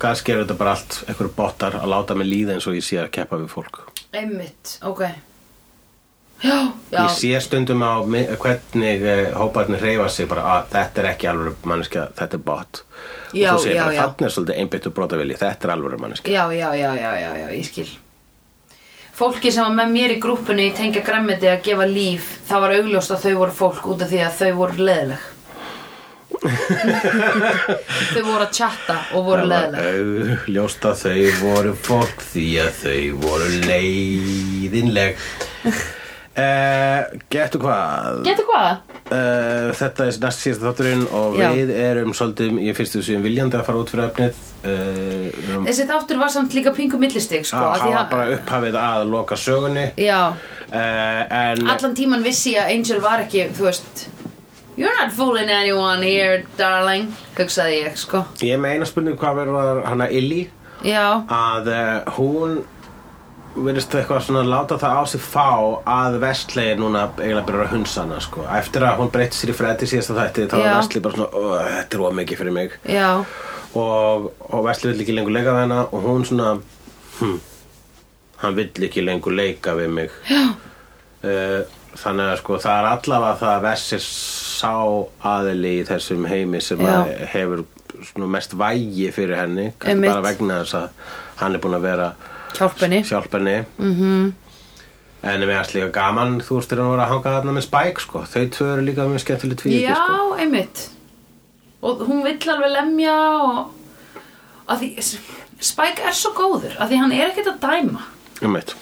kannski er þetta bara allt einhverjum bottar að láta mig líða eins og ég sé að keppa við fólk Einmitt, ok. Já, já. Ég sé stundum á mi- hvernig eh, hóparnir hreyfa sig bara að þetta er ekki alveg manneskja, þetta er bot Já, og svo sé ég já, bara já. þannig er svolítið einbyttur brotavili, þetta er alveg manneskja Já, já, já, já, já, já, ég skil Fólki sem var með mér í grúppunni í tengja græmmiti að gefa líf það var augljóst að þau voru fólk út af því að þau voru leðileg Þau voru að chatta og voru leðileg Ljóst að þau voru fólk því að þau voru <laughs> leiðinleg Uh, getu hvað? Getur hvað? Uh, þetta er næst síðasta þátturinn og Já. við erum svolítið, ég finnst þessu um viljandi að fara út fyrir efnið uh, við erum- Þessi þáttur var samt líka pingu millistig sko, að af því hafa að- bara upphafið að loka sögunni uh, Já, en allan tíman vissi ég að Angel var ekki, þú veist You're not fooling anyone here, darling hugsaði ég, sko ég er með eina spurning hvað verður hana Illy Já, að uh, hún verðist eitthvað svona láta það á sig fá að Vestley er núna eiginlega byrjar að hunsa hana sko. eftir að hún breytti sér í freddi síðasta þætti þá var Já. Vestley bara svona, "Ugh, þetta er of mikið fyrir mig já, og, og Vesli vill ekki lengur leika við hana og hún svona hm, hann vill ekki lengur leika við mig uh, þannig að sko það er allavega það að Vesli sá aðili í þessum heimi sem Já. að hefur svona mest vægi fyrir henni kannski Einmitt. bara vegna þess að hann er búin að vera hjálpunni hjálpenni mm -hmm. Mhm. en mér er líka gaman þú veist þegar hann voru að hanga þarna með Spike sko. þau tvö eru líka mjög skemmtileg tvíð Já, sko. einmitt Og hún vill alveg lemja og að því Spike er svo góður að því hann er ekkert að dæma um eitt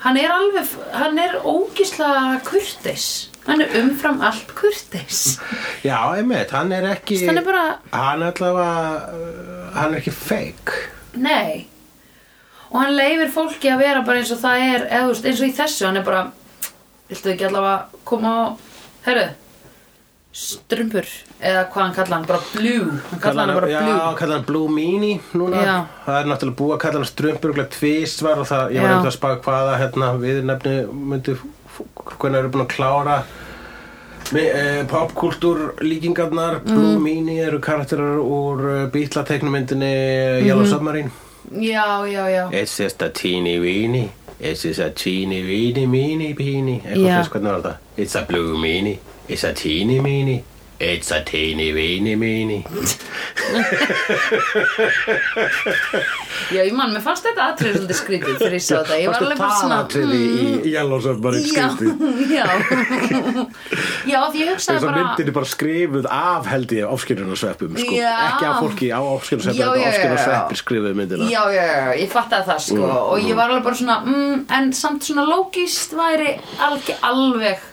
Hann er alveg, hann er ógislega kurteis Hann er umfram allt kurteis <laughs> Já, einmitt, hann er ekki Hann er bara- Hann er allavega uh, Hann er ekki fake Nei Og hann leifir fólki að vera bara eins og það er eða, þú veist, eins og í þessu, hann er bara Viltu ekki allavega koma á Herru Strumpur, eða hvað hann kalla hann bara blue, hann kalla hann bara blue Já, kalla hann Blue Mini núna Já. Það er náttúrulega búið að kalla hann strumpuruglega tvísvar og það, ég var Já. eitthvað að spá hvaða hérna, við nefni myndi, hvernig eru búin að klára uh, popkultúr líkingarnar Blue Mhm. Meanie eru karakterar úr uh, bítlateknumyndinni Mhm. Yellow Submarine Já, já, já It's just a teeny weeny It's just a teeny weeny meeny peeny Já. Eitthvað fyrst hvernig var þetta? It's a blue meeny It's a teeny meeny It's a teeny weeny meeny Já, ég man, mér fannst þetta atrið svolítið skrítið þegar ég sá þetta Ég var Fannstu alveg bara svona hmm. talatriði í Yellow Submarine skrítið? <laughs> Já, já Já, því ég hugsaði Þess að bara myndin er bara skrifuð af held ég áskilunasveppum sko. Já. ekki af fólki á áskilunasveppum Já, já, já, já. áskilunasveppir skrifuðu myndina Já, já, já, ég fattaði það sko og mm. ég var alveg bara svona, mm, en samt svona lógist væri alveg, alveg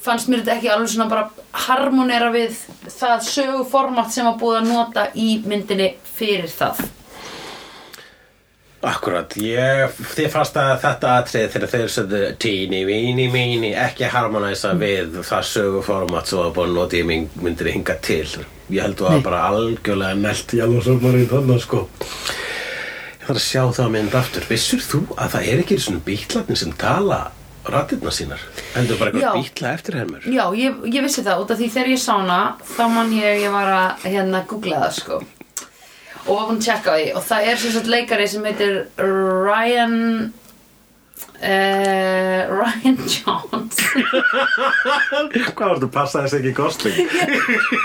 fannst mér þetta ekki alveg svona bara harmonera við það söguformat sem var búið að nota í myndinni fyrir það Akkurat, ég, þið fannst að þetta atrið þegar þeir sögðu tíni, víni, míni ekki harmonæsa við það söguformat sem var búin að nota í mynd- myndinni hinga til ég held að það bara algjörlega nelt Yellow Submarine þannig sko Ég þarf að sjá það mynd aftur Vissur þú að það er ekki svona bítlarnir sem tala rættirna sínar heldur Já. bara eitthvað bítla eftirhermur Já, ég, ég vissi það út af því þegar ég sá hana þá man ég ég var að hérna googla það sko og var búin að checka á því og það er sem sagt leikari sem heitir Ryan uh, Ryan Jones <laughs> Hvað vartu að passa þess ekki gosling?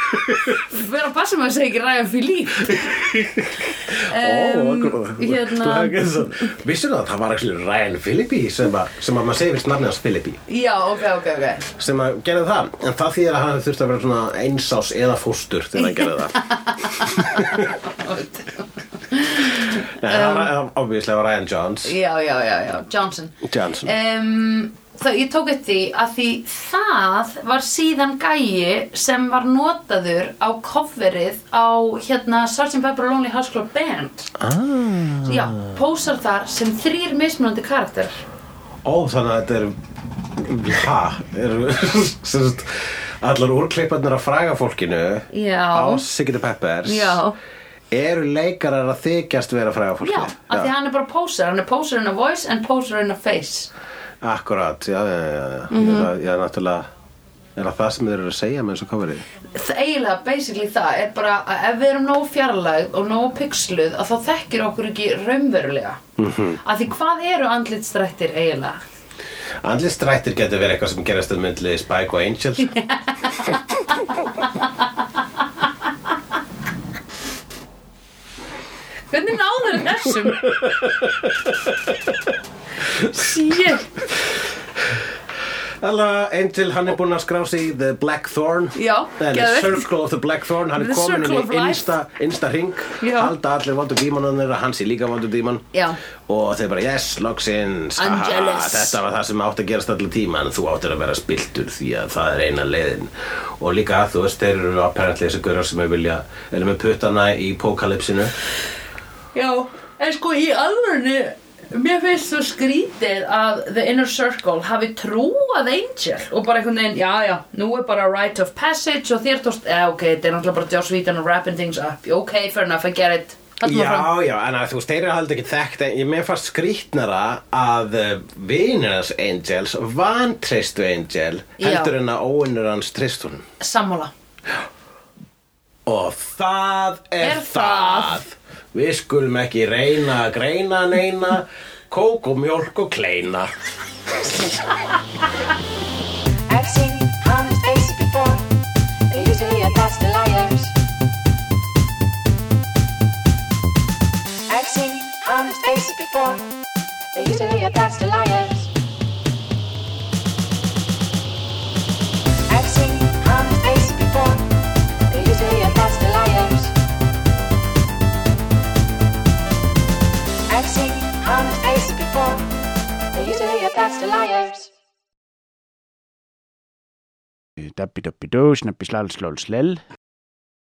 <laughs> vera að passa með að segja ekki Ryan Philippe Em, <laughs> hérna- Vissur það að það var ekki Ryan Philippi sem að, sem að maður segir vist nafni hans Philippi Já, ok, ok, ok sem að gerði það, en það þýðir að hann þurfti að vera svona einsás eða fóstur þegar hann gerði <laughs> það Nei, Um. það var obvíslega var Ryan Johns Já, já, já, já, Johnson Johnson um, þá, Ég tók eftir því að því það var síðan gæi sem var notaður á coverið á hérna Sgt. Pepper Lonely Hearts Club Band ah. Já, pósar þar sem þrýr mismunandi karakter Ó, þannig að þetta er ha, er <laughs> sem sagt, allar úrkleiparnir að fræga fólkinu Já. á Sigurðu Peppers Já. eru leikarar að þykjast vera fræga fólki Já, af því hann er bara pósar Hann er pósar in a voice and pósar in a face Akkurát, já, já, já, já. Mhm. Mm -hmm. það, já náttúrulega er það það sem þeir eru að segja með þessu coverið Það eiginlega, basically það er bara að ef við erum nógu fjarlægð og nógu pixluð að þá þekkir okkur ekki raunverulega mm -hmm. að því hvað eru andlitstrættir eiginlega? Andli strættir getur verið eitthvað sem gerast um myndli Spike og Angel <laughs> Hvernig náður þessum? Shit Alla, Angel, hann er búinn að skrá sig í The Blackthorn Já, Nei, The geðveikt. Circle of the Blackthorn Hann er The komin Circle of inn í Life. innsta, innsta ring Já. Halda allir vondu dímonanir að hans er líka vondu dímon Já. Og þeir bara, yes, loksins ha, ha, ha, Angelus. Þetta var það sem átti að gerast allir tíma En þú áttir að vera spiltur því að það er eina leiðin Og líka, þú veist, þeir eru apparently þessi gaurar sem við vilja Erum með puttana í pókalipsinu Já, en sko í alvörinu mér finnst þú skrítið að The Inner Circle hafi trúað Angel og bara einhvern veginn, já já, nú er bara Rite of Passage og þér tóst, eh, ok, þetta er náttúrulega bara Joss Whedon og wrapping things up, ok, fair enough, I get it Haldum áfram. Já, já, en að þú veist, þeir eru haldið ekki þekkt en ég með fast skrýtnara að vinnurans Angels vantreistu Angel Já. heldur en að óvinnur hans treystu honum Sammála og það er, Er það. það. við skulum ekki reyna að greina neina kók og mjólk og kleina I've seen honest faces before. They're usually a pass to liars. I've seen honest faces before. They're usually a pass to liars. I've seen honest faces before. They're usually a pass to liars. I've seen honest faces before. They're usually a pass to liars. Dabbi dabbi dó, snabbi slal slól slell